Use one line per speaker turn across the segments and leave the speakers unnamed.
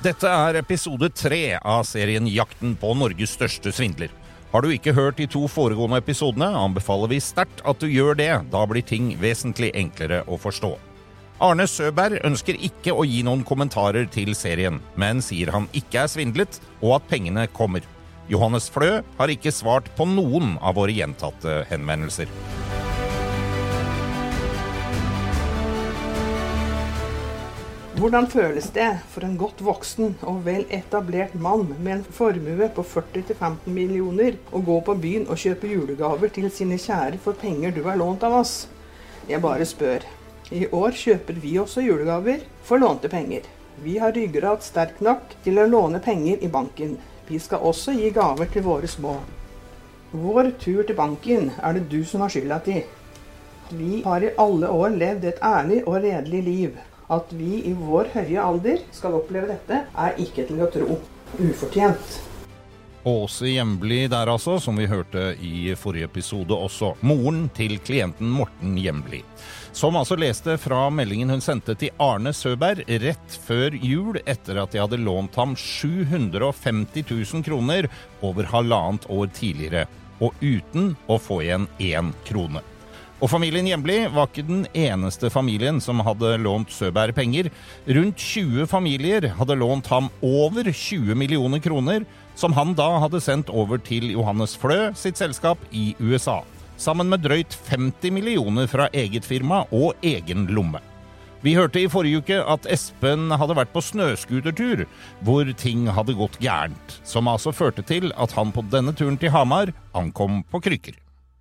Dette er episode tre av serien Jakten på Norges største svindler. Har du ikke hørt de to foregående episodene, anbefaler vi sterkt at du gjør det. Da blir ting vesentlig enklere å forstå. Arne Søberg ønsker ikke å gi noen kommentarer til serien, men sier han ikke er svindlet, og at pengene kommer. Johannes Flø har ikke svart på noen av våre gjentatte henvendelser.
Hvordan føles det for en godt voksen og vel etablert mann med en formue på 40-15 millioner å gå på byen og kjøpe julegaver til sine kjære for penger du har lånt av oss? Jeg bare spør. I år kjøper vi også julegaver for lånte penger. Vi har ryggrad sterk nok til å låne penger i banken. Vi skal også gi gaver til våre små. Vår tur til banken er det du som har skylda til. Vi har i alle år levd et ærlig og redelig liv. At vi i vår høye alder skal oppleve dette, er ikke til å tro. Ufortjent.
Og Åse Hjemli der altså, som vi hørte i forrige episode også. Moren til klienten Morten Hjemli. Som altså leste fra meldingen hun sendte til Arne Søberg rett før jul, etter at de hadde lånt ham 750 000 kroner over halvannet år tidligere. Og uten å få igjen én krone. Og familien Hjemli var ikke den eneste familien som hadde lånt Søberg penger. Rundt 20 familier hadde lånt ham over 20 millioner kroner, som han da hadde sendt over til Johannes Flø sitt selskap i USA. Sammen med drøyt 50 millioner fra eget firma og egen lomme. Vi hørte i forrige uke at Espen hadde vært på snøskutertur, hvor ting hadde gått gærent. Som altså førte til at han på denne turen til Hamar ankom på krykker.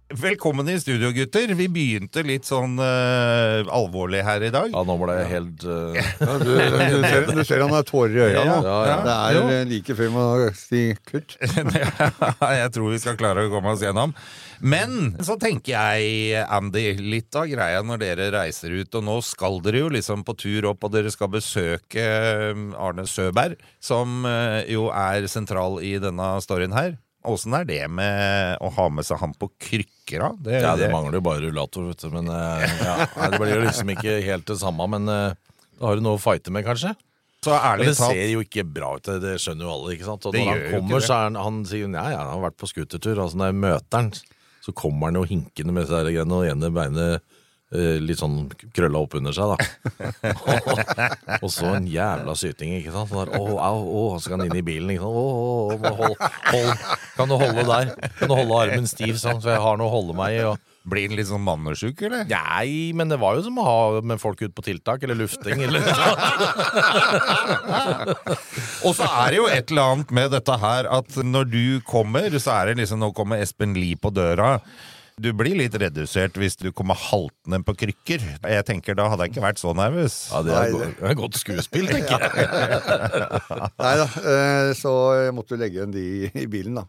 Velkommen i studio, gutter. Vi begynte litt sånn eh, alvorlig her i dag.
Ja, nå ble jeg helt eh,
Ja, du, du, ser, du ser han har tårer i øya nå.
Ja, ja.
Det
Jo.
er eh, like før man må si kutt.
jeg tror vi skal klare å komme oss gjennom. Men så tenker jeg, Andy, litt av greia når dere reiser ut, og nå skal dere jo liksom på tur opp, og dere skal besøke eh, Arne Søberg, som eh, jo er sentral i denne storyen her. Åssen er det med å ha med seg han på krykker, da? Det,
Ja, det
det-
mangler jo bare rullator, vet du. Men eh, ja, nei, det blir jo liksom ikke helt det samme. Men eh, da har du noe å fighte med, kanskje?
Så
Men
ærlig
det ser
talt
jo ikke bra ut, det- det skjønner jo alle. ikke sant? Og
Det
når han
gjør jo ikke
kommer,
det.
så er han, han sier jo, ja, ja, han har vært på skutertur. Altså når jeg møter han, så kommer han jo hinkende med disse her greiene, og ene beinet eh, litt sånn krølla opp under seg, da. og, så en jævla syting, ikke sant. Sånn der, å, au, å, så skal han inn i bilen, ikke sant. Å, å, å, må hold, hold, kan du holde der? Kan du holde armen stiv sånn, for jeg har noe å holde meg i? og...
Blir han litt sånn mannesjuk, eller?
Nei, men det var jo som å ha med folk ut på tiltak, eller lufting, eller
Og så er det jo et eller annet med dette her at når du kommer, så er det liksom Nå kommer Espen Lie på døra. Du blir litt redusert hvis du kommer haltende på krykker. Jeg tenker Da hadde jeg ikke vært så nervøs.
Ja, det er, go det er godt skuespill, tenker jeg.
Nei da, eh, så jeg måtte legge igjen de i bilen, da.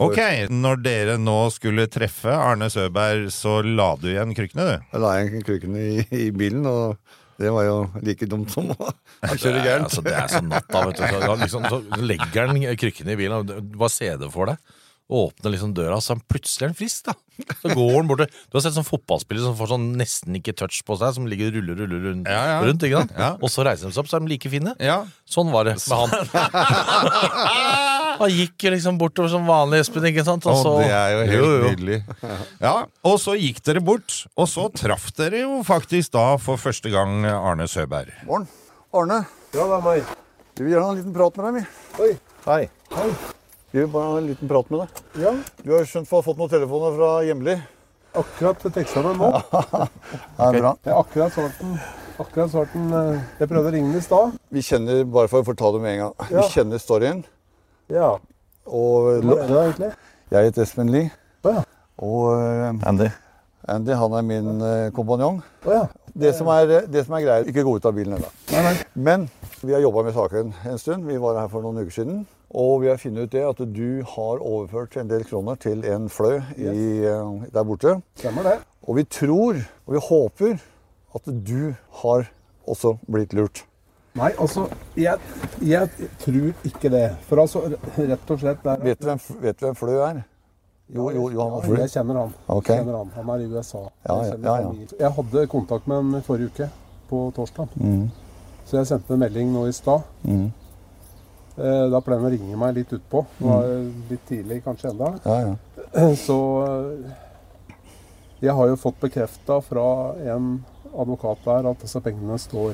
Ok, Når dere nå skulle treffe Arne Søberg, så la du igjen krykkene, du?
Da la jeg krykkene i, i bilen, og det var jo like dumt som å å kjøre
Nei,
gærent.
altså, det er sånn natta, vet du. Så, da liksom, så legger han krykkene i bilen, og hva ser du for deg? Åpner liksom døra, så er han plutselig er han frisk, da. Så går han bort til Du har sett sånn fotballspiller som får sånn nesten ikke touch på seg, som ligger og ruller, ruller rundt,
Ja, ja.
rundt ikke sant?
Ja.
Og så reiser de seg opp, så er de like fine.
Ja.
Sånn var det med han. Han gikk jo liksom bortover som vanlig, Espen, ikke sant? Og
Sånn. Å,
så-
det er jo helt
Jo, jo.
nydelig. Ja, Og så gikk dere bort, og så traff dere jo faktisk da for første gang Arne Søberg.
Morn. Arne,
Ja, det er meg.
vi vil gjerne ha en liten prat med deg, vi.
Oi.
Hei.
Hei.
Vi vil bare ha en liten prat med deg.
Ja,
Du har skjønt få- fått noen telefoner fra hjemlig?
akkurat teksta meg nå.
Det er bra.
Jeg har akkurat svart den. Akkurat svart den. eh, Jeg prøvde å ringe den i stad.
Vi kjenner, bare for å fortelle det med en gang,
Ja.
vi kjenner storyen.
Ja.
Og
Hva er det da, egentlig?
jeg heter Espen Lie,
Å ja.
og eh,
Andy.
Andy han er min eh, kompanjong.
Å ja.
Det som er, eh, det som er greia, ikke gå ut av bilen ennå. Men vi har jobba med saken en stund. Vi var her for noen uker siden. Og vi har funnet ut det at du har overført en del kroner til en flø i, eh, der borte.
Stemmer det.
Og vi tror og vi håper at du har også blitt lurt.
Nei, altså, jeg, jeg tror ikke det. For altså, rett og slett der,
Vet du hvem, vet du hvem Flø er? Jo, jo, Johan Flø.
Jeg kjenner han.
Ok.
Jeg kjenner han. han er i USA.
Ja,
Jeg
ja,
kjenner
ja, ja.
familien. Jeg hadde kontakt med han forrige uke, på torsdag.
Mm.
Så jeg sendte en melding nå i stad. Eh, Da pleier han å ringe meg litt utpå. Det var litt tidlig kanskje enda.
Ja, ja.
Så eh, jeg har jo fått bekrefta fra en advokat der at disse pengene står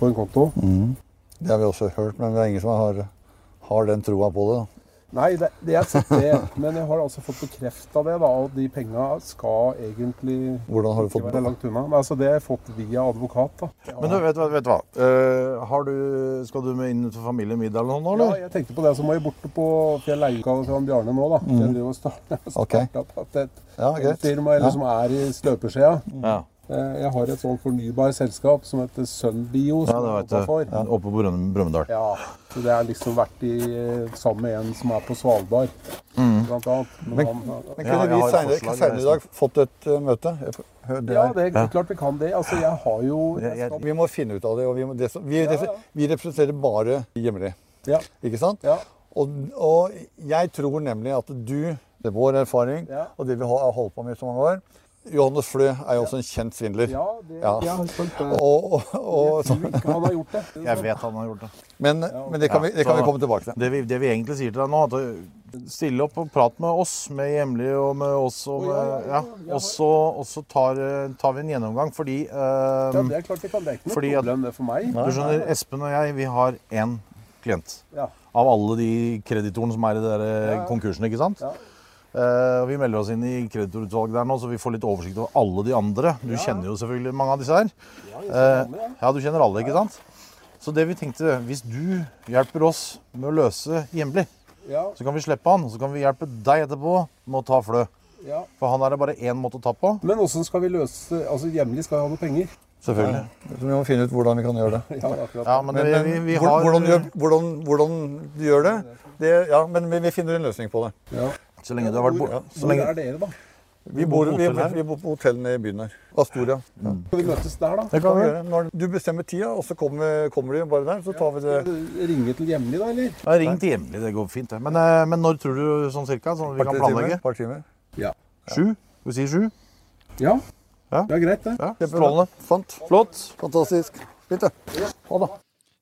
på en konto.
Det har vi også hørt, men det er ingen som har, har den troa på det. da.
Nei, det, det jeg har sett det, men jeg har altså fått bekrefta det, da, og de penga skal egentlig
Hvordan har du fått
ikke være
det?
langt unna. Men altså, det har jeg fått via advokat, da.
Men du, vet, du- vet du hva? Eh, har du, skal du med inn til familiemiddag eller noe nå,
Ja,
eller?
jeg tenkte på det, så må jeg borte på For jeg leier lokale fra Bjarne nå, da. Jeg
Mm.
driver og starter
Ok.
starter opp et-
Ja,
et
greit.
firma eller,
Ja.
som er i støpeskjea.
Mm. Ja.
Eh, Jeg har et sånt fornybar selskap som heter
ja,
Sunbio. som
det
jeg
vet
jobber for.
du. Oppe på Brønn- Brumunddal.
Ja, så det har liksom vært i, eh, sammen med en som er på Svalbard,
Mm.
blant annet.
Men
Men han,
Ja,
kunne
jeg
vi
har et
senere,
forslag,
senere i
jeg
dag fått et eh, møte? Jeg får- hør, det
ja,
her.
det er klart vi kan det. Altså, jeg har jo
Jeg- jeg-
Vi må finne ut av det. og Vi, må, det som- vi,
ja.
vi representerer bare hjemlig,
Ja,
ikke sant?
ja.
Og, og jeg tror nemlig at du, det er vår erfaring,
Ja.
og det vi har har holdt på med i så mange år Johannes Flø er jo også en kjent svindler.
Ja, det,
Ja.
jeg har skjønt
Og,
det.
og, og,
Jeg tror ikke han har gjort det.
Jeg vet han har gjort det.
men men det, kan vi, det kan vi komme tilbake til.
Det vi, det vi egentlig sier til deg nå, er at du stiller opp og prater med oss, med hjemlig og med oss. Og,
Å, ja, ja,
med,
ja,
ja.
ja.
og så, og så tar, eh, tar vi en gjennomgang, fordi eh,
Ja, det er klart vi kan. Det er ikke noe
Fordi at-
problem det for meg.
Du skjønner, Espen og jeg, vi har én klient.
Ja.
Av alle de kreditorene som er i de der eh, konkursene, ikke sant?
Ja.
Eh, og vi melder oss inn i kreditorutvalget der nå, så vi får litt oversikt over alle de andre. Du kjenner jo selvfølgelig mange av disse her. Eh, ja, du kjenner alle, ikke sant? Så det vi tenkte, hvis du hjelper oss med å løse hjemlig,
Ja,
så kan vi slippe han, og så kan vi hjelpe deg etterpå med å ta Flø.
ja.
For han er det bare én måte å ta på.
Men åssen skal vi løse Altså, hjemlig skal jeg ha noe penger.
Selvfølgelig.
Så vi må finne ut hvordan vi kan gjøre det.
Ja, akkurat.
Ja, men,
Men,
det,
men
vi, vi
hvor-
har
hvordan, du gjør, hvordan, hvordan du gjør det, det ja, men vi, vi finner en løsning på det.
Ja.
Så lenge du har vært
Hvor,
borte så
hvor
lenge,
er dere, da?
Vi bor,
på
vi,
hotell her.
vi bor på hotellene i byen her. Astoria. Ja.
Skal vi møtes der,
Eh,
da?
Det kan vi gjøre. Når du bestemmer tida, og så kommer, kommer du bare der, så tar vi
Skal
det.
vi Ringe til hjemlig, da, eller?
Ja, Ring til hjemlig, det går fint. det. Men, eh, men når tror du sånn cirka? Sånn at vi kan planlegge?
Par timer.
Ja.
Sju? Vi sier sju?
Ja.
Ja.
Det er greit, det.
Ja, Strålende.
Sant.
Flott.
Fantastisk. Fint, det. Ha det.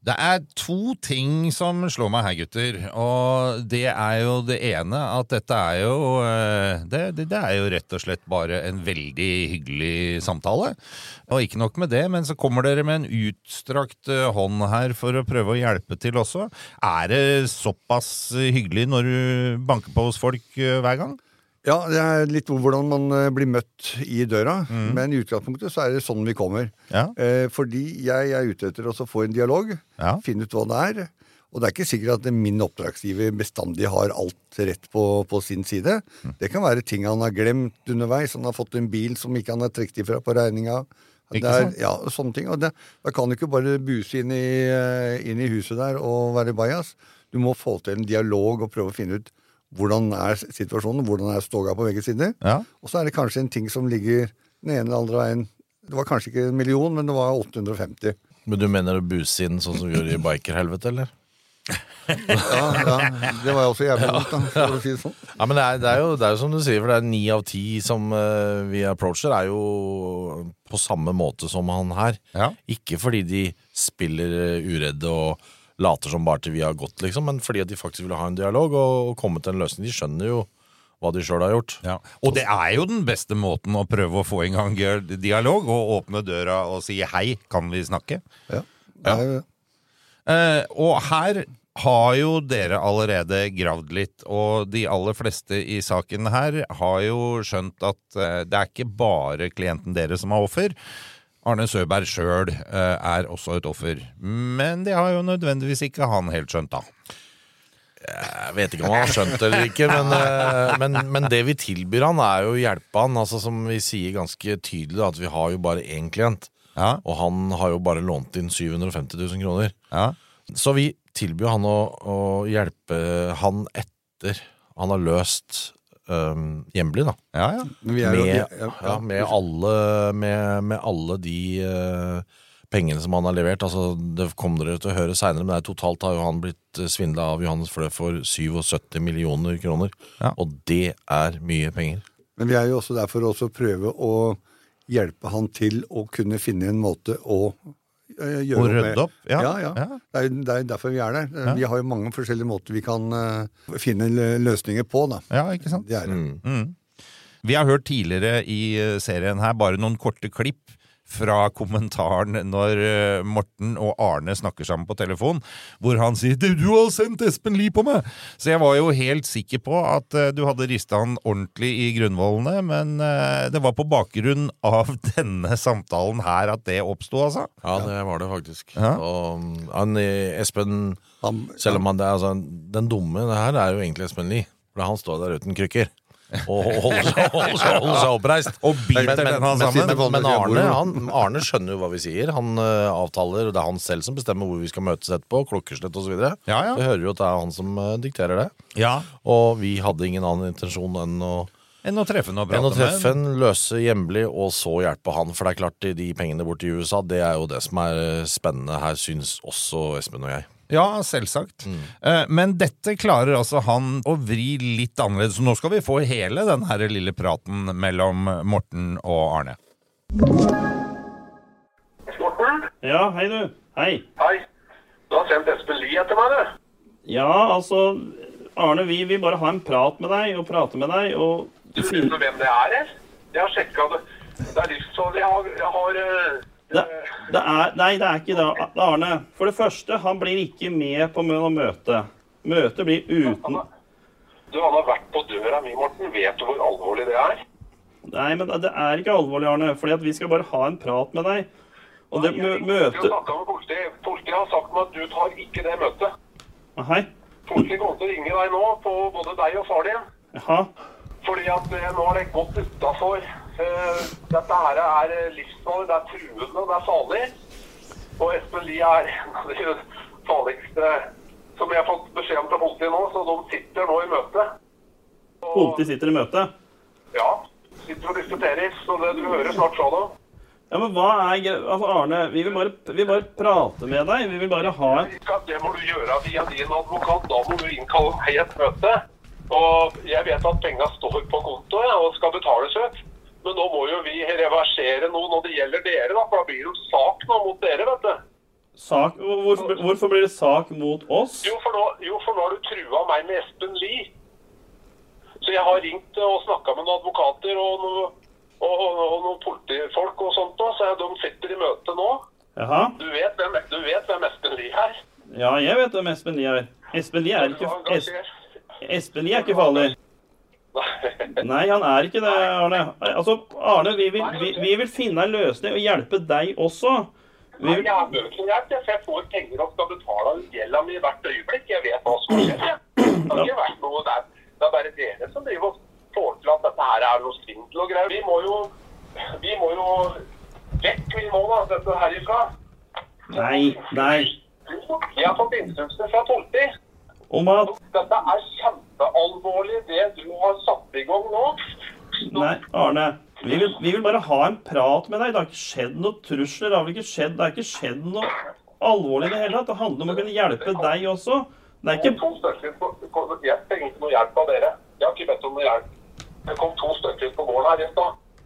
Det er to ting som slår meg her, gutter. Og det er jo det ene at dette er jo eh, Det, det, det er jo rett og slett bare en veldig hyggelig samtale. Og ikke nok med det, men så kommer dere med en utstrakt eh, hånd her for å prøve å hjelpe til også. Er det såpass hyggelig når du banker på hos folk eh, hver gang?
Ja, det er litt hvordan man eh, blir møtt i døra, men i utgangspunktet så er det sånn vi kommer.
Ja.
Eh, fordi jeg er ute etter også å få en dialog,
Ja.
finne ut hva det er. Og det er ikke sikkert at min oppdragsgiver bestandig har alt rett på, på sin side.
Mm.
Det kan være ting han har glemt underveis, han har fått en bil som ikke han har trukket ifra på regninga.
Ikke
Det er,
sant?
ja, sånne ting. Og det, da kan du ikke bare buse inn i, eh, inn i huset der og være bajas. Du må få til en dialog og prøve å finne ut hvordan er situasjonen, hvordan er stoga på begge sider.
Ja.
Og så er det kanskje en ting som ligger den ene eller andre veien. Det var kanskje ikke en million, men det var 850.
Men du mener å buse inn sånn som vi gjør i bikerhelvete, eller?
Ja, ja, Det var jo også jævlig vondt, da, for å si det sånn.
Ja, men det er, det, er jo, det er jo som du sier, for det er ni av ti som eh, vi approacher, er jo på samme måte som han her.
Ja.
Ikke fordi de spiller eh, uredde og later som bare til vi har gått, liksom, men fordi at de faktisk vil ha en dialog og, og komme til en løsning. De skjønner jo hva de sjøl har gjort.
Ja. Og det er jo den beste måten å prøve å få i gang dialog, å åpne døra og si 'hei, kan vi snakke'?
Ja.
Ja.
Det er jo-
Eh, og her har jo dere allerede gravd litt, og de aller fleste i saken her har jo skjønt at eh, det er ikke bare klienten dere som er offer. Arne Søberg sjøl eh, er også et offer, men det har jo nødvendigvis ikke han helt skjønt, da.
Jeg vet ikke om han har skjønt det eller ikke, men, eh, men, men det vi tilbyr han, er jo å hjelpe han. Altså, som vi sier ganske tydelig, da, at vi har jo bare én klient,
Ja,
og han har jo bare lånt inn 750 000 kroner.
ja,
Så vi tilbyr han å, å hjelpe han etter han har løst um, Hjemli, da.
Ja, ja.
Men vi er jo-
Med,
ja, ja,
ja, med, alle, med, med alle de eh, pengene som han har levert. Altså, det kommer dere til å høre seinere, men det er totalt har jo han blitt svindla av Johannes Flø for 77 millioner kroner.
Ja.
Og det er mye penger.
Men vi er jo også der for å også prøve å hjelpe han til å kunne finne en måte å eh, gjøre
Å
opp
rydde
med.
opp, ja.
ja, ja.
Ja.
Det, er, jo- det er jo derfor vi er der. Eh, Vi har jo mange forskjellige måter vi kan eh, finne lø- løsninger på, da.
ja, ikke sant?
Det er det.
Vi har hørt tidligere i eh, serien her bare noen korte klipp fra kommentaren når eh, Morten og Arne snakker sammen på telefon, hvor han sier «Du, du har sendt Espen Lie på meg!» Så jeg var jo helt sikker på at eh, du hadde ristet han ordentlig i grunnvollene, men eh, det var på bakgrunn av denne samtalen her at det oppstod, altså.
Ja, det var det faktisk.
Ja.
Og um, han, eh, Espen
Han,
Selv om han, det er, altså, den dumme det her er jo egentlig Espen Lie. For han står der uten krykker. Og holder seg, holder seg, holder seg oppreist.
Og biter den han sammen.
men, men Arne, han, Arne skjønner jo hva vi sier. Han eh, avtaler, og det er han selv som bestemmer hvor vi skal møtes etterpå. Klokkeslett osv.
Ja, ja.
Det hører jo at det er han som eh, dikterer det.
Ja.
Og vi hadde ingen annen intensjon enn å,
Enn å treffe han og
enn å
prate
treffe
med.
en løse hjemlig, og så hjelpe han. For det er klart, de- de pengene borte i USA, det er jo det som er eh, spennende her, syns også Espen og jeg.
Ja, selvsagt.
Mm.
Eh, Men dette klarer altså han å vri litt annerledes. Så nå skal vi få hele den her lille praten mellom Morten og Arne.
Morten?
Ja, hei du. Hei.
Hei. Du har sendt Espen Lie etter meg, du.
Ja, altså Arne, vi vil bare ha en prat med deg og prate med deg og
Du vet jo hvem det er, eller? Jeg har sjekka det. Det er livsfarlig. Jeg har, jeg har eh,
det, det er, Nei, det er ikke det, Arne. For det første, han blir ikke med på mø- møtet. Møtet blir uten
Du, han har vært på døra mi, Morten. Vet du hvor alvorlig det er?
Nei, men det er ikke alvorlig, Arne. Fordi at vi skal bare ha en prat med deg. Og det mø
Jeg
møtet
snakket med politiet. Politiet har sagt meg at du tar ikke det møtet.
Hei.
Politiet kommer til å ringe deg nå på både deg og far din.
Jaha.
Fordi at eh, nå har det gått utafor. dette her er eh, livsfarlig, det er truende, det er farlig. Og Espen Lie er en av de farligste som jeg har fått beskjed om til politiet nå, så de sitter nå i møte.
Politiet sitter i møte.
Ja, sitter og diskuterer, så det du hører snart fra dem.
Ja, men hva er gre... Altså, Arne, vi vil bare, vi vil bare prate med deg. Vi vil bare ha en
Ja, Det må du gjøre via din advokat, da må du innkalle meg i et møte. Og jeg vet at penga står på konto ja, og skal betales ut. Men nå må jo vi reversere noe når det gjelder dere, da, for da blir det jo sak nå mot dere, vet du.
sak... Hvorfor, hvorfor blir det sak mot oss?
Jo, for nå, jo, for nå har du trua meg med Espen Lie. Så jeg har ringt eh, og snakka med noen advokater og, noe, og, og, og noen politifolk og sånt òg, så jeg, de sitter i møte nå.
Jaha.
Du vet hvem, du vet hvem Espen Lie er?
Ja, jeg vet hvem Espen Lie er. Espen Lie er
Du
ikke,
har
es,
engasjert.
Espen Lie er ikke farlig.
Nei.
Nei, han er ikke det, Arne. Altså, Arne, vi vil, vi, vi vil finne en løsning og hjelpe deg også. Vi
Nei,
vil,
Jeg har bøkelhjelp, jeg, for jeg får penger og skal betale ut gjelda mi hvert øyeblikk. Jeg vet hva som skjer. jeg. Det har ikke vært noe der. Det er bare dere som driver og får til at dette her er noe svindel og greier. Vi må jo, vi må jo vekk, vi må da, dette herifra.
nei, nei.
Jeg har fått instrukser fra politiet.
Om at
Dette er kjempealvorlig, det du har satt i gang nå.
Nei, Arne. Vi vil, vi vil bare ha en prat med deg. Det har ikke skjedd noen trusler. Det har vel ikke skjedd, det har ikke skjedd noe alvorlig i det hele tatt. Det handler om å kunne hjelpe deg også. Det er
Det kom
ikke
to stykker på- Jeg trenger ikke noe hjelp av dere. Jeg har ikke bedt om noe hjelp. Det kom to stykker på gården her i stad.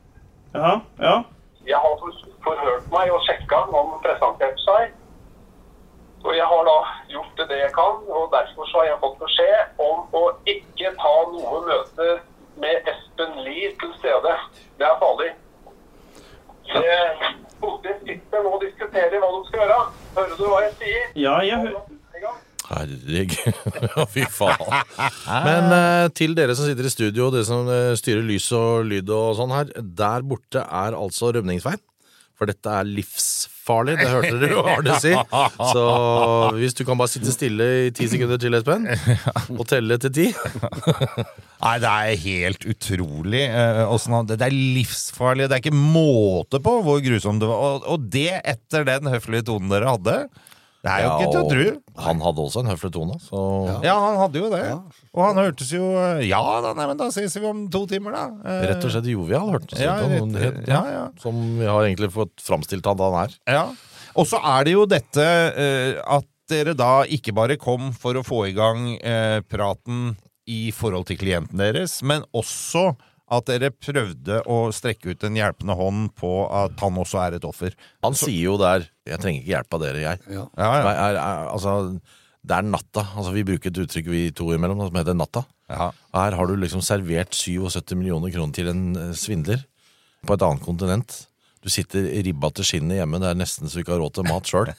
Ja, ja.
Jeg har for- forhørt meg og sjekka om han presenterte seg. Og jeg har da gjort det jeg kan, og derfor så har jeg fått beskjed om å ikke ta noe møte med Espen Lie til stede. Det er farlig. Det- Politiet sitter nå og diskuterer hva de skal gjøre. Hører du hva jeg sier?
Ja, jeg hø-
Herregud, fy faen. Men eh, til dere som sitter i studio, og dere som eh, styrer lys og lyd og sånn her, der borte er altså rømningsveien. For dette er livsfarlig, det hørte dere jo Arne si. Så hvis du kan bare sitte stille i ti sekunder til, Espen, og telle til ti
Nei, det er helt utrolig. eh, åssen han- det, det er livsfarlig. Det er ikke måte på hvor grusomt det var. Og, og det etter den høflige tonen dere hadde. Det er jo ikke til å tro.
Han hadde også en høflig tone, så
Ja, han hadde jo det.
Ja.
Og han hørtes jo eh, Ja da, nei, men da ses vi om to timer, da. Eh,
rett og slett jovial, hørtes det
Ja,
ut som.
rett-
Helt-
ja, ja.
Som vi har egentlig fått framstilt han da han er.
Ja. Og så er det jo dette eh, at dere da ikke bare kom for å få i gang eh, praten i forhold til klienten deres, men også at dere prøvde å strekke ut en hjelpende hånd på at han også er et offer.
Han sier jo der 'Jeg trenger ikke hjelp av dere, jeg'.
Ja.
Ja, ja.
Nei, er, er, altså, det er natta. Altså, vi bruker et uttrykk vi to imellom da, som heter natta.
Ja.
Her har du liksom servert 77 millioner kroner til en eh, svindler på et annet kontinent. Du sitter i ribba til skinnet hjemme, det er nesten så du ikke har råd til mat sjøl.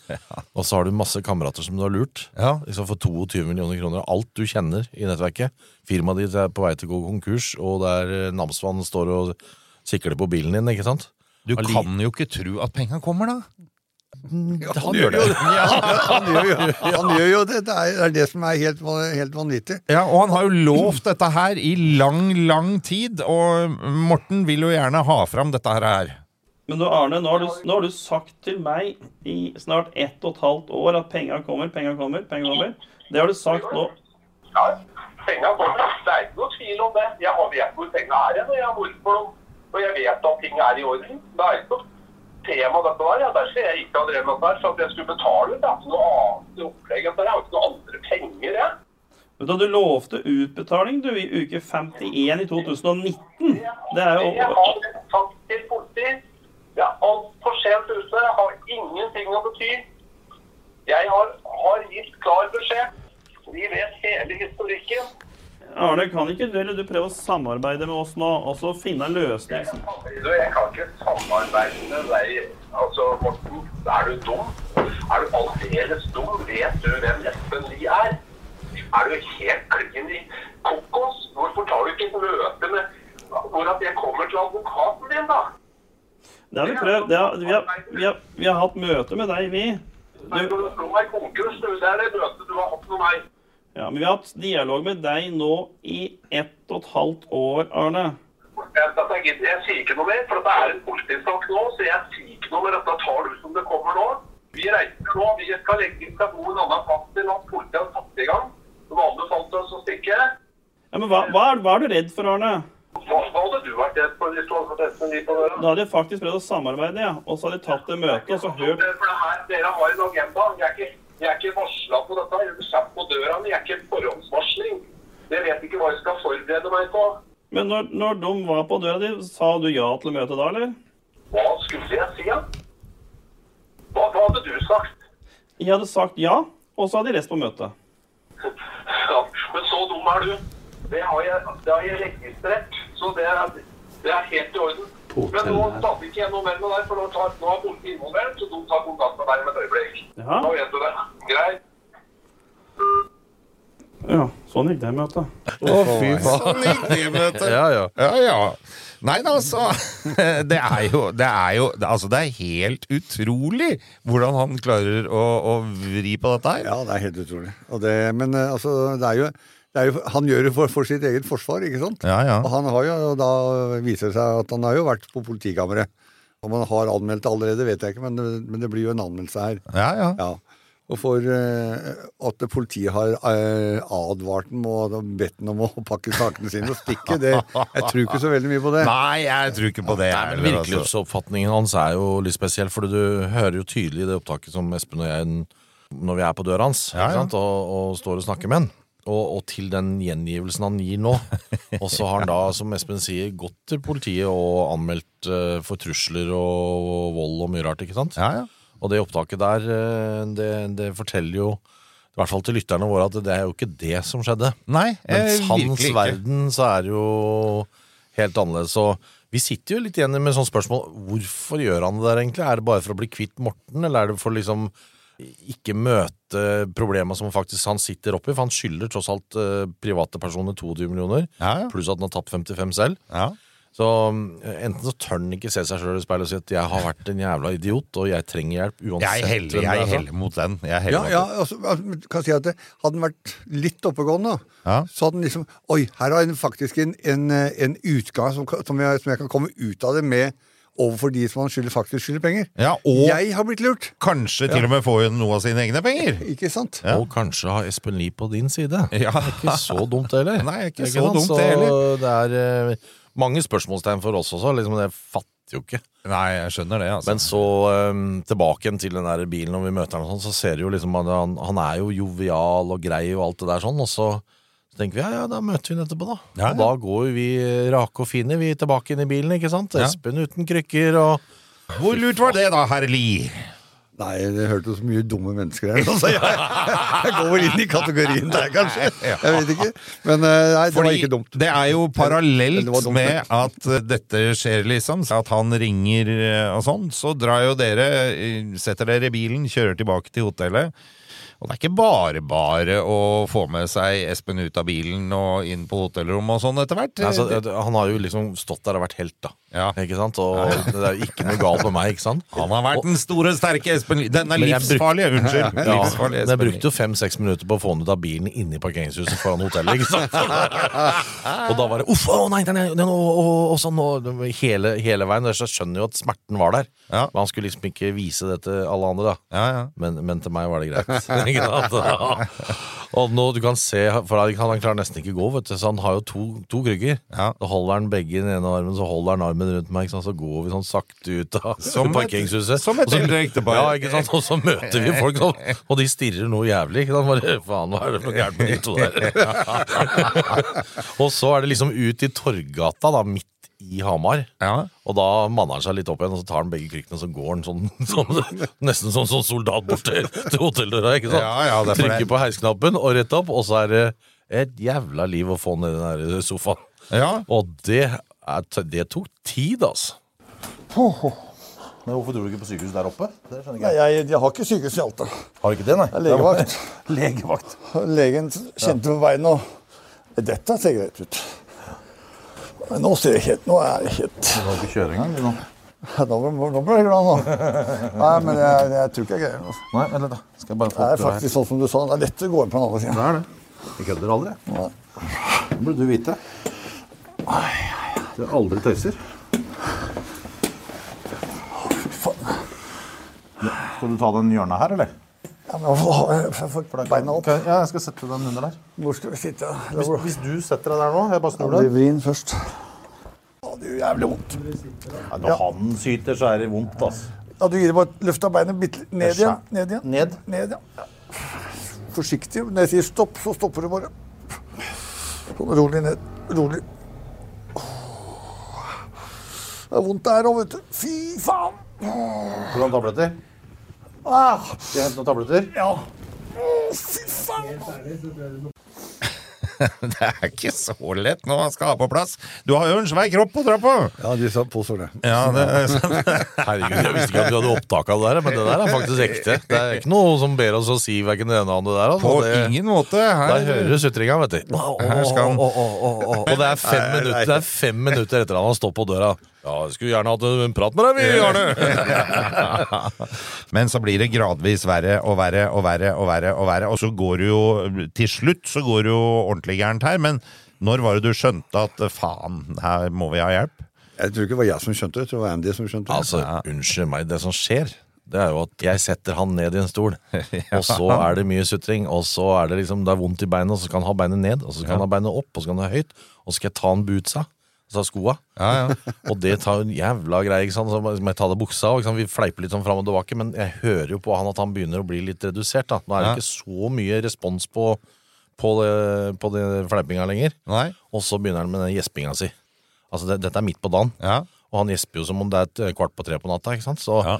Og så har du masse kamerater som du har lurt.
Ja.
Liksom for 22 millioner kroner. Alt du kjenner i nettverket. Firmaet ditt er på vei til å gå konkurs, og der eh, namsmannen står og sikler på bilen din, ikke sant?
Du
Alli-
kan jo ikke tro at penga kommer, da.
Han gjør det.
Han gjør jo, han gjør jo det. Det er, det er det som er helt, van- helt vanvittig.
Ja, Og han har jo lovt dette her i lang, lang tid, og Morten vil jo gjerne ha fram dette her.
Men nå, Arne, nå har, du, nå har du sagt til meg i snart ett og et halvt år at penga kommer, penga kommer, penga kommer. Det har du sagt nå.
Ja, penga kommer. Det er ikke noe tvil om det. Jeg har- vet hvor penga er hen, og jeg har vært for dem. Og jeg vet at ting er i orden. Det er ikke noe tema dette der. Ja, derfor jeg ikke hadde drevet med dette her, for at jeg skulle betale. Det er ikke noe annet opplegg. enn det. Jeg har ikke noe andre penger, jeg.
Vet Du du lovte utbetaling du i uke 51 i 2019. Det er
Jeg
jo
har sagt til politiet jeg er altfor sent ute, jeg har ingenting å bety. Jeg har, har gitt klar beskjed. Vi vet hele historikken.
Arne, kan ikke du, eller du prøve å samarbeide med oss nå og så finne en løsning? som-
Du, jeg kan ikke samarbeide med deg. Altså, Morten, er du dum? Er du aldeles dum? Vet du hvem Espen Lie er? Er du helt klin i kokos? Hvorfor tar du ikke et møte med hvor at jeg kommer til advokaten din, da?
Det har vi prøvd. Det har, vi, har, vi, har, vi har hatt møte med deg, vi.
Nei, når du slår meg i konkurs, du, det er det møtet du har hatt med meg.
Ja, men vi har hatt dialog med deg nå i ett og et halvt år, Arne.
Jeg, jeg, gidder- jeg sier ikke noe mer, for det er en politisak nå, så jeg sier ikke noe mer. Dette tar du som det kommer nå. Vi reiser nå, vi skal legge inn bo en annen plass til at politiet har satt i gang. Som sånn, alle falt oss å stikke.
Ja, men hva, hva, er, hva er du redd for, Arne?
Hva, hva hadde du vært redd for hvis du hadde fått Espen Lie på døra?
Da hadde jeg faktisk prøvd å samarbeide, ja. og så hadde jeg tatt det altså. møtet og så hørt
For det her, dere har en agenda. Jeg er ikke, jeg er ikke varsla på dette. Jeg er satt på døra, men jeg er ikke forhåndsvarsling. Jeg vet ikke hva jeg skal forberede meg på.
Men når, når de var på døra di, sa du ja til møtet da, eller?
Hva skulle jeg si, da? Hva, hva hadde du sagt?
Jeg hadde sagt ja, og så hadde de reist på møtet.
Ja, men så dum er du. Det har jeg, det har jeg registrert, så det er, det er helt i orden. Men nå snakker ikke jeg noe mer med deg, for nå, tar, nå er politiet involvert, så de tar kontakt med deg med et øyeblikk.
Ja,
Nå vet du det. Greit.
ja sånn gikk det møtet.
Å, fy faen!
Ja, ja.
Ja, ja. Nei da, altså. Det er jo, det er jo altså, Det er helt utrolig hvordan han klarer å, å vri på dette her.
Ja, det er helt utrolig. Og det, men eh, altså, det er jo, det er jo Han gjør det for, for sitt eget forsvar, ikke sant?
Ja, ja.
Og han har jo, og da viser det seg at han har jo vært på politikammeret. Om han har anmeldt det allerede, vet jeg ikke, men, det- men det blir jo en anmeldelse her.
Ja, ja.
Ja. Og for eh, at politiet har eh, advart ham og bedt ham om å pakke sakene sine og stikke, det, jeg tror ikke så veldig mye på det.
Nei, jeg tror ikke på det.
Nei, men
heller, altså.
Virkelighetsoppfatningen hans er jo litt spesiell, for du hører jo tydelig i det opptaket som Espen og jeg når vi er på døra hans
Ja, ja.
Ikke sant? Og, og står og snakker med han. Og, og til den gjengivelsen han gir nå. Og så har han da, som Espen sier, gått til politiet og anmeldt eh, for trusler og, og vold og mye rart, ikke sant?
Ja, ja.
Og det opptaket der, eh, det, det forteller jo, i hvert fall til lytterne våre, at det er jo ikke det som skjedde.
Nei, eh,
Mens hans
virkelig ikke.
verden så er det jo helt annerledes. Og vi sitter jo litt igjen med sånn spørsmål hvorfor gjør han det der egentlig? Er det bare for å bli kvitt Morten, eller er det for liksom ikke møte problema som faktisk han sitter oppi? For han skylder tross alt eh, private personer 22 millioner,
Ja, ja.
pluss at han har tapt 55 selv.
Ja.
Så mm, enten så tør han ikke se seg sjøl i speilet og si at 'jeg har vært en jævla idiot, og jeg trenger hjelp', uansett
Jeg heller,
hvem det er
jeg
fra.
heller mot den. Jeg heller
Ja,
mot
ja,
den.
altså, altså, men kan si at det, Hadde han vært litt oppegående,
Ja.
så hadde han liksom Oi, her har jeg faktisk en, en, eh, en utgang som, kan- som, jeg, som jeg kan komme ut av det med.
overfor de som han skylder, faktisk skylder penger.
Ja, og
Jeg har blitt lurt!
kanskje til og med få noe av sine egne penger.
Ikke sant?
Ja.
Og kanskje ha Espen Lie på din side.
Ja.
Det er ikke så dumt heller.
Nei, ikke
Ikke
så
sant?
dumt det heller.
Det er eh, mange spørsmålstegn for oss også, liksom, det fatter jo ikke.
Nei, jeg skjønner det, altså.
Men så eh, tilbake igjen til den der bilen når vi møter han og sånn, så ser du jo liksom at han, han er jo jovial og grei og alt det der sånn, og så så tenker vi ja, ja, da møter vi ham etterpå, da.
Ja,
Og
ja.
da går jo vi eh, rake og fine, vi tilbake inn i bilen, ikke sant?
Ja.
Espen uten krykker og
Hvor lurt var det da, herr Lie?
Nei, det hørte jo så mye dumme mennesker her, nå, så jeg, jeg går inn i kategorien der, kanskje. Jeg vet ikke. Men eh, nei, det var
Fordi
ikke dumt.
det er jo
Men
parallelt
det var dumt,
med
ja.
at eh, dette skjer, liksom. At han ringer eh, og sånn. Så drar jo dere, eh, setter dere i bilen, kjører tilbake til hotellet. Og det er ikke bare bare å få med seg Espen ut av bilen og inn på hotellrommet og sånn etter hvert.
Nei, så, eh, Han har jo liksom stått der og vært helt, da.
Ja.
Ikke sant? Og det er jo ikke noe galt med meg, ikke sant?
han har vært den store, sterke Espen Lie. Den er
eh, Men jeg
livsfarlig, unnskyld.
Ja,
livsfarlig
men jeg
Espen Lie.
brukte jo fem-seks minutter på å få han ut av bilen inne i parkeringshuset foran hotellet. ikke sant? og da var det uff, å nei, den er, den er, og, og, og sånn, og hele, hele veien. Så jeg skjønner jo at smerten var der.
Ja.
Men han skulle liksom ikke vise det til alle andre, da.
Ja, ja.
Men, men til meg var det greit. Ikke sant? og nå, du kan se, for han, han klarer nesten ikke å gå, vet du, så han har jo to, to krykker.
Ja.
Så holder han begge i den ene armen, så holder han armen rundt meg, ikke sant? så går vi sånn sakte ut av
Som et-
parkeringshuset.
som et
Og så-
eldre ektepar.
Ja, ikke sant? Og så møter vi folk, sånn, og de stirrer noe jævlig. Ikke sant? Bare, faen, hva er det for noe gærent med de to der? og så er det liksom ut i Torggata, da, midt i Hamar.
Ja.
Og da manner han seg litt opp igjen, og så tar han begge krykkene, og så går han sånn, sånn nesten som sånn soldat bort til, til hotelldøra, ikke sant?
Ja, ja, det er for det.
Trykker på heisknappen og rett opp, og så er det et jævla liv å få ned den der sofaen.
ja.
Og det, er, t- det tok tid, altså.
Men hvorfor dro du ikke på sykehus der oppe? Det skjønner
Nei,
jeg ikke.
jeg, jeg har ikke sykehus i Alta.
Har du ikke det, nei?
Jeg er legevakt.
Legevakt.
Legen kjente på veien og Dette ser greit ut. Men nå ser jeg helt Nå er jeg helt
Du kan ikke kjøre engang, du nå.
Nå, ble- nå ble jeg glad, nå. Nei, men jeg, jeg tror ikke jeg greier det. altså.
Nei, vent litt, da. Skal jeg bare få
Det
opp
er faktisk sånn som du sa. Det er lett å gå inn på den andre siden.
Det er det. Jeg kødder aldri.
Nei.
Det burde du vite. Du aldri tøyser.
Faen.
Skal du ta den hjørnet her, eller?
Ja, men hvorfor har jeg- jeg får beina opp?
Kan- Ja, jeg skal sette den under der.
Hvor skal vi sitte?
Hvis,
Det
hvis du setter deg der nå, jeg bare snur
blir
deg.
vrien først. Å, det gjør jævlig vondt.
Nei, Når han syter, så er det vondt, altså.
Ja, du gir bare løfta beinet bitte litt ned igjen. Ned igjen.
Ned?
Ned, ja. Forsiktig. Når jeg sier stopp, så stopper du bare. Sånn rolig ned. Rolig. Det er vondt der òg, vet du. Fy faen!
Skal du ha tabletter?
Ah,
Skal jeg hente noen tabletter?
ja. Å, fy faen!
Det er ikke så lett når man skal ha på plass. Du har jo en svær kropp å dra på.
Ja, de sa påstår det.
Ja, det er sant.
Herregud, jeg visste ikke at vi hadde opptak av det der, men det der er faktisk ekte. Det er ikke noe som ber oss å si hverken det ene eller det andre der. Altså.
På
det,
ingen måte.
Der
Her,
hører du sutringa, vet du.
Her skal han.
Å, å, å, å, å. Og det er fem minutter, det er fem minutter etter at han har stått på døra. Ja, jeg skulle gjerne hatt en prat med deg, vi, Arne.
Men så blir det gradvis verre og verre og verre og verre. Og verre Og så går det jo til slutt så går det jo ordentlig gærent her. Men når var det du skjønte at faen, her må vi ha hjelp?
Jeg tror ikke det var jeg som skjønte det, jeg tror det var Andy som skjønte det.
Altså, unnskyld meg, det som skjer, det er jo at jeg setter han ned i en stol, og så er det mye sutring, og så er det liksom, det er vondt i beinet, og så kan han ha beinet ned, og så kan han ha beinet opp, og så kan han ha høyt, og så skal jeg ta han butsa, altså skoa. og det tar jo en jævla greie, ikke sant, så må jeg ta det buksa, og ikke sant? vi fleiper litt sånn frem og tilbake, men jeg hører jo på han at han begynner å bli litt redusert, da. Nå er det ikke så mye respons på, på, det, på det fleipinga lenger.
Nei?
Og så begynner han med den gjespinga si. Altså, det, dette er midt på dagen.
Ja.
Og han gjesper jo som om det er et eh, kvart på tre på natta, ikke sant? Så,
Ja.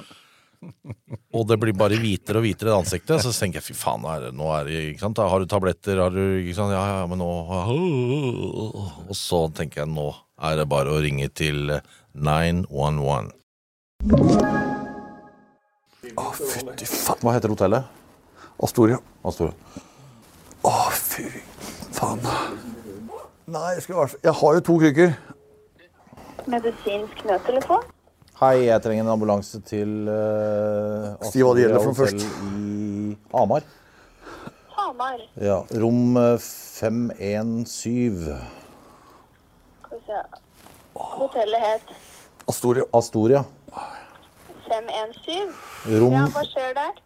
og det blir bare hvitere og hvitere i det ansiktet. Så tenker jeg, fy faen, nå er det, nå er det ikke sant? Har du tabletter, har du ikke sant? Ja, ja, men nå Og så tenker jeg, nå er det bare å ringe til 911.
Fytti faen.
Hva heter hotellet?
Astoria.
Astoria.
Å, fy faen. Nei, jeg, skal, i hvert fall- jeg har jo to krykker.
Medisinsk nødtelefon.
Hei, jeg trenger en ambulanse til uh,
Si hva det gjelder for først.
i Hamar.
Hamar.
Ja, rom eh, 517.
Skal vi se. Hotellet het
Astoria.
Astoria.
517.
Rom.
Ja, hva skjer der?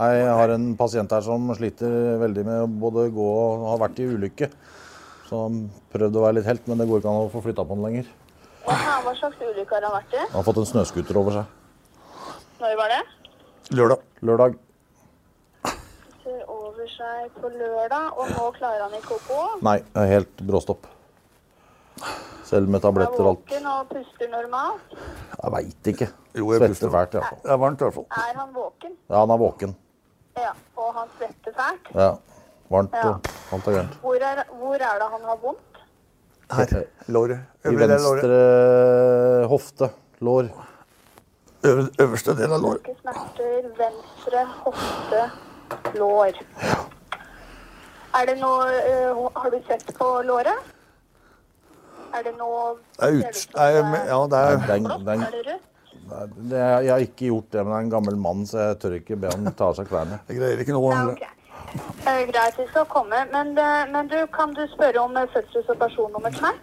Nei, jeg har en pasient her som sliter veldig med å både gå og har vært i ulykke. Så han prøvde å være litt helt, men det går ikke an å få flytta på han lenger.
Jaha, hva slags ulykke har han vært i?
Han har fått en snøskuter over seg.
Når var det?
Lørdag. Lørdag.
Ser over seg på lørdag, og nå klarer han ikke å gå.
Nei, jeg er helt bråstopp. Selv med
Han er
tabletter og alt.
våken og puster normalt.
Jeg veit ikke.
Jo,
jeg Svetter fælt, i hvert fall.
Det er varmt i hvert fall.
Er han våken?
Ja, han er våken.
Ja, og han svetter fælt.
Ja. Varmt
Ja.
og alt er gærent.
Hvor er, hvor er det han har vondt?
Her.
Låret.
I
Øvre del av låret.
venstre hofte. Lår.
Øvre- Øverste del av låret.
Ikke smerter, venstre hofte, lår. Er det noe eh, Har du sett på låret? Er det noe
Det er ut... Nei, men- ja, det er
Den, den,
Er det rødt?
Nei, det, jeg har ikke gjort det, men det er en gammel mann, så jeg tør ikke be han ta av seg klærne.
Jeg greier ikke noe.
Ja, ok. Eh, Greit, vi skal komme. Men, eh, men du, kan du spørre om eh, fødsels- og personnummer til meg?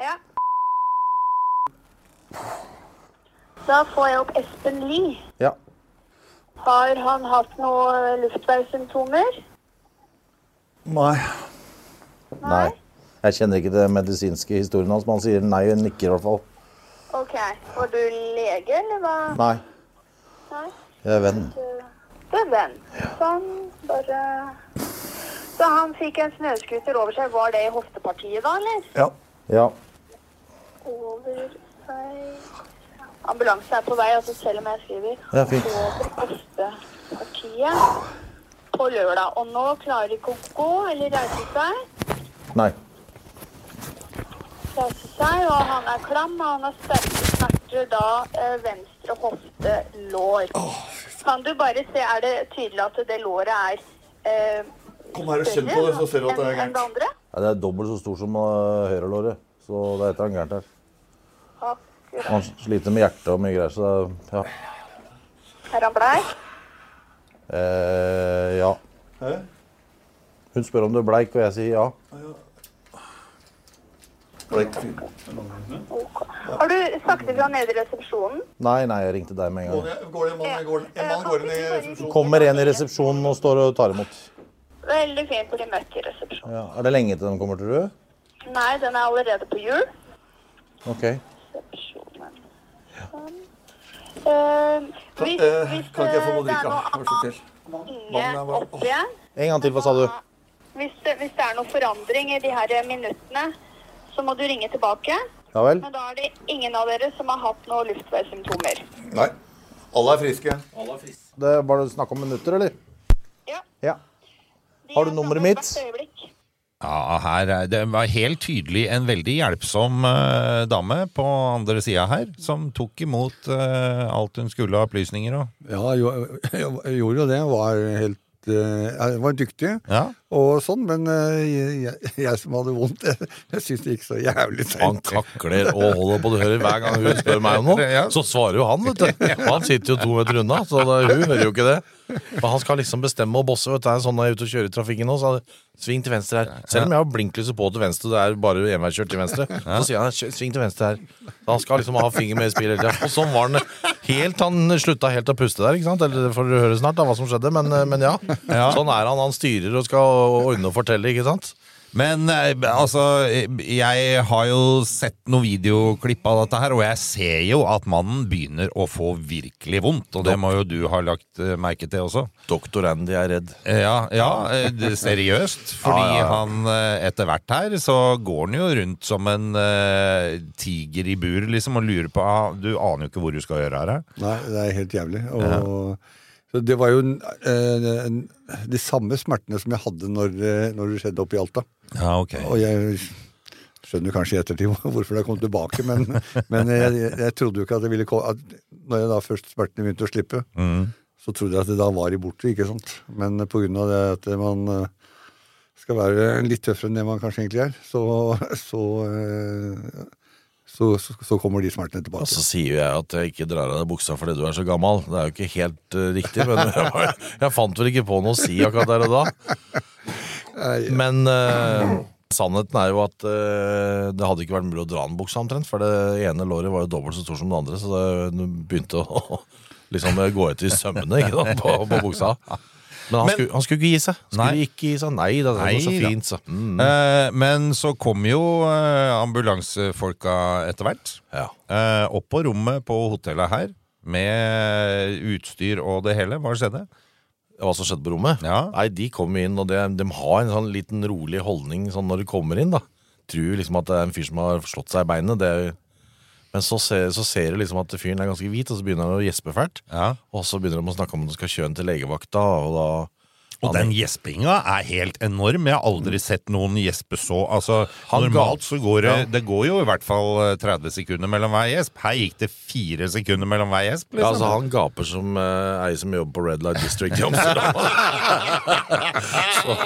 Ja. Da får jeg opp Espen Lie.
Ja.
Har han hatt noe eh, luftveissymptomer?
Nei.
Nei. Jeg kjenner ikke det medisinske historien hans, men han sier nei og nikker i hvert fall.
Ok. Var du lege, eller hva?
Nei,
Nei.
jeg er venn.
Du er eh, venn. Sånn, bare Så han fikk en snøscooter over seg. Var det i hoftepartiet da, eller?
Ja.
Ja.
Over seg Ambulanse er på vei, altså selv om jeg skriver.
Ja, fint.
Over hoftepartiet på lørdag. Og nå klarer ikke å gå eller reise seg.
Nei.
Reise seg, og han er klam, og han har sterke smerter da eh, venstre hofte lår. Kan du bare se, er det tydelig at det låret er eh,
Kom her og kjenn på det, så ser du at det er
enn
gærent.
det andre?
Ja, det er dobbelt så stor som øh, høyrelåret, så det er et eller annet gærent her. Han sliter med hjertet og mye greier, så det er- ja.
Er han bleik?
Eh, ja. Hun spør om du er bleik, og jeg sier ja.
Har du snakket fra nede i resepsjonen? Eh,
Nei, nei, jeg ringte deg med en gang.
Går det en mann, går det- en mann går inn i resepsjonen?
Kommer en i resepsjonen og står og tar imot.
Veldig fint å bli møtt i resepsjonen.
Ja. Er det lenge til de kommer, tror du?
Nei, den er allerede på jul.
Ok.
Resepsjonen. Sånn. Eh, hvis,
Eh,
hvis
Kan ikke jeg få
eh,
noe å
det er
drikke?
noe
Vær så snill. Mannen
unge
er bare-
opp igjen,
En gang til, hva sa du?
hvis det, hvis det er noe forandring i de her minuttene, så må du ringe tilbake.
Ja vel?
Men da er det ingen av dere som har hatt noen luftveissymptomer.
Nei. Alle er friske.
Det er bare snakk om minutter, eller?
Ja.
Ja. Har du nummeret mitt?
Hvert øyeblikk.
Ja, her er, det var helt tydelig en veldig hjelpsom eh, dame på andre sida her, som tok imot eh, alt hun skulle av opplysninger og
Ja, jo, jeg gjorde jo det. Var helt eh, jeg var dyktig
Ja.
og sånn, men eh, jeg, jeg som hadde vondt, jeg, jeg syns det gikk så jævlig
Han
seint.
kakler og holder på. Du hører hver gang hun spør meg om noe,
Ja.
så svarer jo han. vet du. Og han sitter jo to meter unna, så det, hun hører jo ikke det. Men han skal liksom bestemme og bosse. vet du. Det er sånn når jeg er ute og kjører i trafikken nå, så er det sving til venstre her. Selv om jeg har blinklyset på til venstre, det er bare enveiskjørt til venstre, så sier han "Kjør- sving til venstre her. Så han skal liksom ha finger med i spillet hele tiden. Og sånn var han helt Han slutta helt å puste der, ikke sant? Eller det får du høre snart da, hva som skjedde, men, eh, men ja. Sånn er han. Han styrer og skal ordne og fortelle, ikke sant?
Men eh, altså, eh, jeg har jo sett noen videoklipp av dette her, og jeg ser jo at mannen begynner å få virkelig vondt, og det må jo du ha lagt eh, merke til også.
Doktor Andy er redd.
Eh, Ja, ja eh, det- seriøst. Fordi
Ja, ja, ja.
han eh, etter hvert her så går han jo rundt som en eh, tiger i bur, liksom, og lurer på ah, Du aner jo ikke hvor du skal gjøre her. eh.
Nei, det er helt jævlig. Og, så det var jo eh, en- de samme smertene som jeg hadde når, eh, når det skjedde oppe i Alta.
Ja, ok.
Og jeg skjønner kanskje i ettertid hvorfor det kom tilbake, men, men jeg, jeg trodde jo ikke at det ville komme at Når jeg da først smertene begynte å slippe, så trodde jeg at det da var i borte, ikke sant. Men på grunn av det at man eh, skal være litt tøffere enn det man kanskje egentlig er, så så, eh, så, så, så kommer de smertene
Og så
tilbake.
sier jo jeg at jeg ikke drar av deg buksa fordi du er så gammel. Det er jo ikke helt eh, riktig, men jeg, bare, jeg fant vel ikke på noe å si akkurat der og da. Men eh, Sannheten er jo at eh, det hadde ikke vært mulig å dra den buksa omtrent, for det ene låret var jo dobbelt så stor som det andre, så det det begynte å liksom gå ut i sømmene ikke sant, på, på buksa. Men han,
Men-
skulle, han skulle ikke gi seg. Skulle
Nei.
ikke gi seg. Nei da, det var så
Nei da.
fint, så. Mm.
Eh, men så kom jo eh, ambulansefolka etter hvert. Eh, opp på rommet på hotellet her, med utstyr og det hele. Hva skjedde?
Hva som skjedde på rommet? Nei, de kom inn, og de, de har en sånn liten rolig holdning sånn når de kommer inn, da. Tror liksom at det er en fyr som har slått seg i beinet. Det er, men så ser, så ser du liksom at fyren er ganske hvit, og så begynner han å gjespe fælt. Og så begynner de å snakke om at de skal kjøre han til legevakta, og da
Og den gjespinga er helt enorm. Jeg har aldri sett noen gjespe så. Altså,
Han
normalt
ga-
så går det
Ja.
Det går jo i hvert fall eh, 30 sekunder mellom hver gjesp. Her gikk det fire sekunder mellom hver gjesp. liksom.
Ja, altså Han gaper som eh, ei som jobber på Red Light District i Amsterdam. så,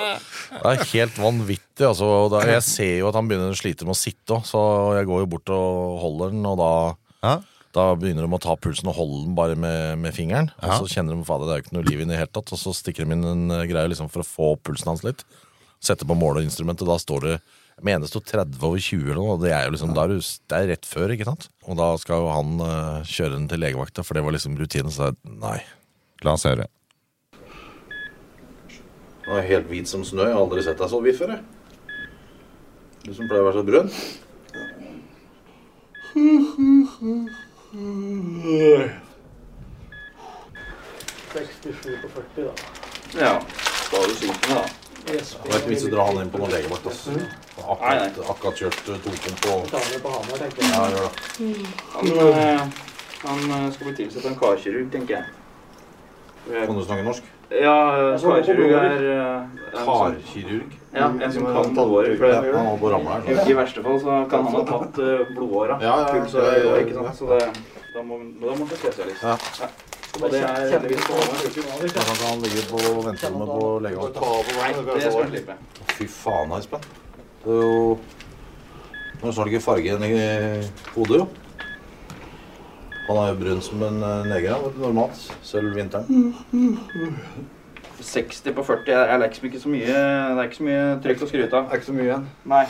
det er helt vanvittig. Altså, Og da, jeg ser jo at han begynner å slite med å sitte òg, så jeg går jo bort og holder den, og da, da begynner de å ta pulsen og holde den bare med, med fingeren.
Ja.
Og så kjenner de fader, det er jo ikke noe liv i det hele tatt, og så stikker de inn en eh, greie liksom, for å få opp pulsen hans litt. Setter på måleinstrumentet, da står det jeg mener det sto 30 over 20 eller noe, og det er jo liksom, da er du, det er rett før, ikke sant? Og da skal jo han eh, kjøre den til legevakta, for det var liksom rutinen, så jeg, nei.
La oss høre.
Han er helt hvit som snø, jeg har aldri sett deg så hvit før, jeg. Du som pleier å være så brønn.
Mm.
67 på 40, da.
Ja, da er du sliten, da.
Yes.
Det var ikke vits å dra han inn på noen legevakt, ass. Akkurat, akkurat kjørt eh, to pump og...
Ta med på Hamar, tenker jeg.
Ja, gjør det.
Han, eh, han eh, skal bli tilsatt av en karkirurg, tenker jeg.
Kan du snakke norsk?
Ja, eh,
Jeg får håpe
karkirurg
blodet
er
litt.
eh, er en sånn-
Karkirurg?
Ja, en som kan blodårer. for
Ja, han holdt på å ramle her,
I, I verste fall så kan han ha tatt eh, blodåra.
Ja, ja, ja,
Puls og
ja, ja, ja.
blodåra, ikke sant? Så det, da må da må man til spesialist.
Ja.
Og det er heldigvis på Hamar.
Da kan han ligge på venterommet på legevakta.
Nei, det skal han slippe.
Fy faen, Espen. Det er jo Nå så du ikke fargen i hodet, jo. Han er jo brun som en eh, neger, han, vet du, normalt. Selv vinteren.
60 på 40 er, er liksom ikke så mye Det er ikke så mye trykk å skryte av. Det er ikke så mye igjen. Nei.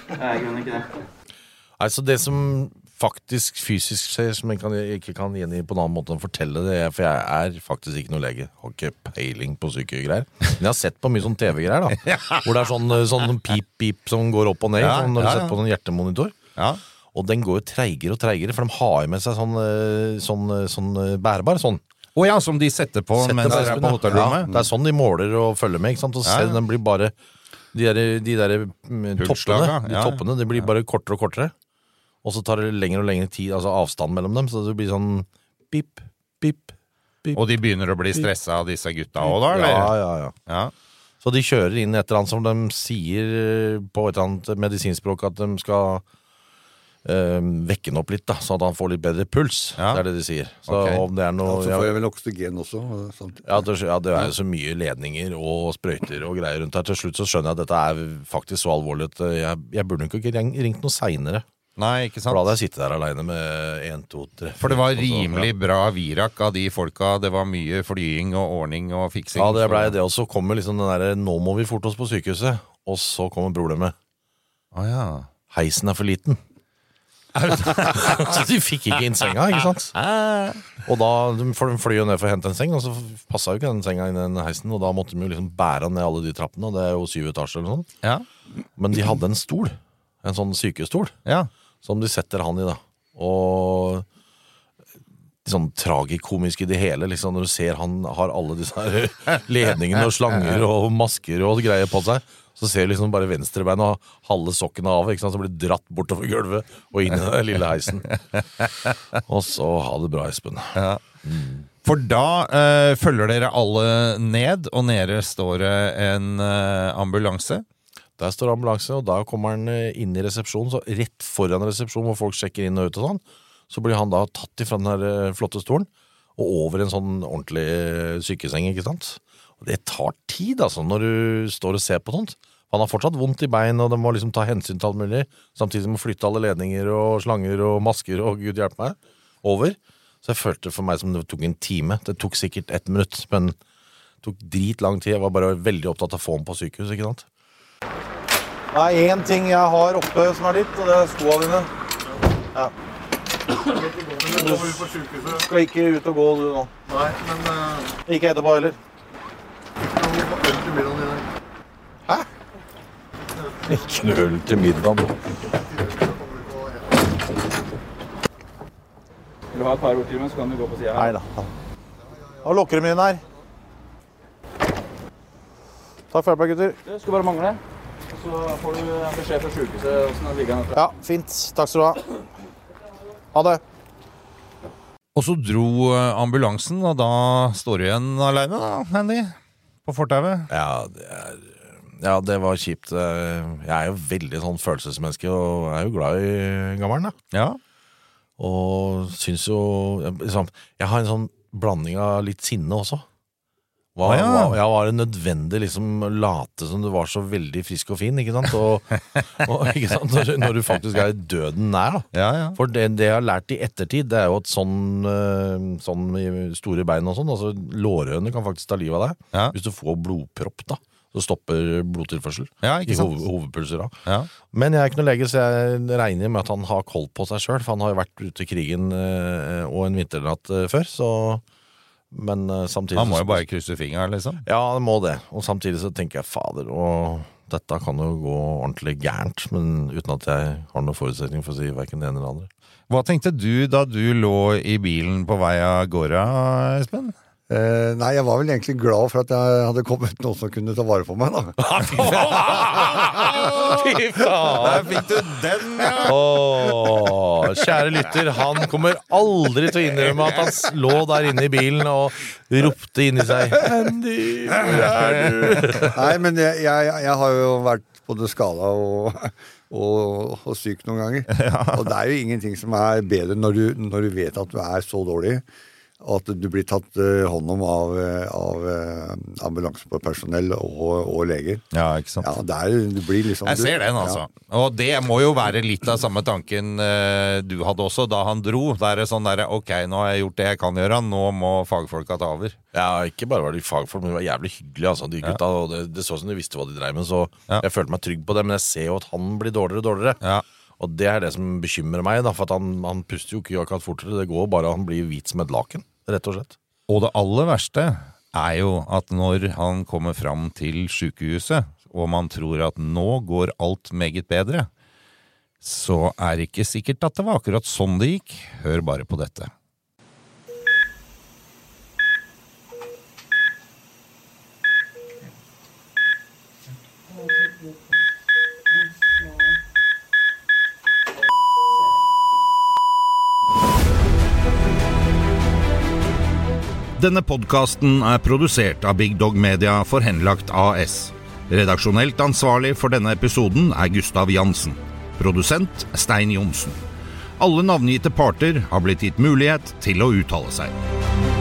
Det er i grunnen ikke det.
Altså, det som faktisk fysisk skjer, som jeg kan, jeg ikke kan gjengi på en annen måte enn å fortelle det, for jeg er faktisk ikke noe lege. Har ikke peiling på sykegreier. Men jeg har sett på mye sånn TV-greier, da. Hvor det er sånn, eh, sånn pip-pip som går opp og ned,
Ja,
sånn
ja,
når du
ja.
setter på sånn hjertemonitor. Og den går jo treigere og treigere, for de har jo med seg sånn, eh, sånn, eh, sånn eh, bærbar sånn.
Å ja, som de setter på
Sett
mens
det
dere er på
Espen, ja.
hotellrommet?
Ja, det er sånn de måler og følger med. Ikke sant? Og
Ja,
ser,
ja.
Den blir bare De der, de der mm, toppene,
Pulsslaga,
de
ja, ja.
toppene det blir bare kortere og kortere. Og så tar det lengre og lengre tid, altså avstand mellom dem. Så det blir sånn pip, pip, pip.
Og de begynner å bli stressa av disse gutta òg, da?
Ja,
Eller?
ja, ja. Så de kjører inn et eller annet som de sier eh, på et eller annet medisinspråk at de skal eh, vekke han opp litt, da, sånn at han får litt bedre puls. Det er det de sier. Så
Ok.
om det er noe
Ja, så får jeg vel oksygen også. og sånt.
Ja, det, ja, det er jo så mye ledninger og sprøyter og greier rundt her. Til slutt så skjønner jeg at dette er faktisk så alvorlig at eh, jeg, jeg burde nok ikke ring- ringt noe seinere.
Nei, ikke sant?
For da hadde jeg sittet der aleine med én, to, tre
For det var
fire, og så-
rimelig bra virak av de folka. Det var mye flying og ordning og fiksing.
Ja, det blei det. Og så kommer liksom den derre 'nå må vi forte oss på sykehuset', og så kommer problemet.
Å ja.
Heisen er for liten. så de fikk ikke inn senga, ikke sant? Og da, de- For de fløy jo ned for å hente en seng, og så passa jo ikke den senga inn i den heisen. Og da måtte de jo liksom bære han ned alle de trappene, og det er jo syv etasjer eller noe sånt. Men de hadde en stol, en sånn sykestol, som de setter han i, da. Og sånn tragikomisk i det hele, liksom, når du ser han har alle disse her ledningene og slanger og masker og greier på seg. Så ser du liksom bare venstrebeinet og halve sokken av, ikke sant, som blir dratt bortover gulvet og inn i den lille heisen. Og så ha det bra, Espen.
Ja. For da eh, følger dere alle ned, og nede står det en eh, ambulanse.
Der står ambulanse, og da kommer han eh, inn i resepsjonen, så rett foran resepsjonen hvor folk sjekker inn og ut og sånn, så blir han da tatt ifra den her eh, flotte stolen og over en sånn ordentlig eh, sykeseng, ikke sant? Og det tar tid, altså, når du står og ser på sånt. Han har fortsatt vondt i bein, og det må liksom ta hensyn til alt mulig, samtidig som å flytte alle ledninger og slanger og masker og gud hjelpe meg, over. Så jeg følte for meg som det tok en time. Det tok sikkert ett minutt, men det tok drit lang tid. Jeg var bare veldig opptatt av å få ham på sykehus, ikke sant?
Det er én ting jeg har oppe som er ditt, og det er skoa dine. Ja. Du skal ikke ut og gå, du nå. Nei, men... eh, Ikke etterpå heller.
Ikke noe øl til middag.
Vil du ha et par ord til, men så kan du gå på sida
her. Nei da. Da lukker de inn her. Takk for hjelpa, gutter.
Det skulle bare mangle. Og Så får du beskjed fra sjukehuset åssen det ligger an.
Ja, fint. Takk skal du ha. Ha det.
Og så dro eh, ambulansen, og da står du igjen aleine, da, Andy? På fortauet?
Ja, det er ja, det var kjipt. Jeg er jo veldig sånn følelsesmenneske, og jeg er jo glad i gammelen, da. Og syns jo liksom, Jeg har en sånn blanding av litt sinne også. Var,
Å, ja.
var, jeg var en nødvendig liksom late som du var så veldig frisk og fin, ikke sant? Og, og, ikke sant? Når, du- når du faktisk er døden nær, da. For det, det jeg har lært i ettertid, det er jo at sånn, eh, sånn i store bein og sånn, altså lårhøne kan faktisk ta livet av deg. Hvis du får blodpropp, da. Så stopper blodtilførsel
Ja, ikke
i
sant?
hov, hovedpulser. Da.
Ja.
Men jeg er ikke noen lege, så jeg regner med at han har koll på seg sjøl. For han har jo vært ute i krigen eh, og en vinternatt eh, før, så Men eh, samtidig
Han må
så-
jo bare krysse fingra, liksom.
Ja, han må det. Og samtidig så tenker jeg fader, og dette kan jo gå ordentlig gærent. Men uten at jeg har noen forutsetning for å si verken det ene eller det andre.
Hva tenkte du da du lå i bilen på vei av gårde, Espen?
Eh, nei, jeg var vel egentlig glad for at jeg hadde kommet noen som kunne ta vare på meg, da.
Fy faen! Der fikk du den, ja! kjære lytter, han kommer aldri til å innrømme at han s- lå der inne i bilen og ropte inni seg Andy, hvor er du?
Nei, men jeg, jeg, jeg har jo vært både skada og, og, og syk noen ganger. Og det er jo ingenting som er bedre når du, når du vet at du er så dårlig at du blir tatt eh, hånd om av, eh, av eh, ambulansepersonell og, og leger.
Ja, ikke sant?
Ja, det er, du blir liksom
Jeg ser den, altså. Og det må jo være litt av samme tanken eh, du hadde også da han dro. Da er det sånn derre Ok, nå har jeg gjort det jeg kan gjøre, nå må fagfolka ta over.
Ja, ikke bare var de fagfolk, men de var jævlig hyggelige, altså, de gutta. Og det, det så ut som de visste hva de dreiv med, så jeg følte meg trygg på det. Men jeg ser jo at han blir dårligere og dårligere. Og det er det som bekymrer meg, da, for at han, han puster jo ikke akkurat fortere. Det går bare han blir hvit som et laken, rett og slett.
Og det aller verste er jo at når han kommer fram til sykehuset, og man tror at nå går alt meget bedre, så er det ikke sikkert at det var akkurat sånn det gikk. Hør bare på dette.
Denne podkasten er produsert av Big Dog Media for Henlagt AS. Redaksjonelt ansvarlig for denne episoden er Gustav Jansen. Produsent Stein Johnsen. Alle navngitte parter har blitt gitt mulighet til å uttale seg.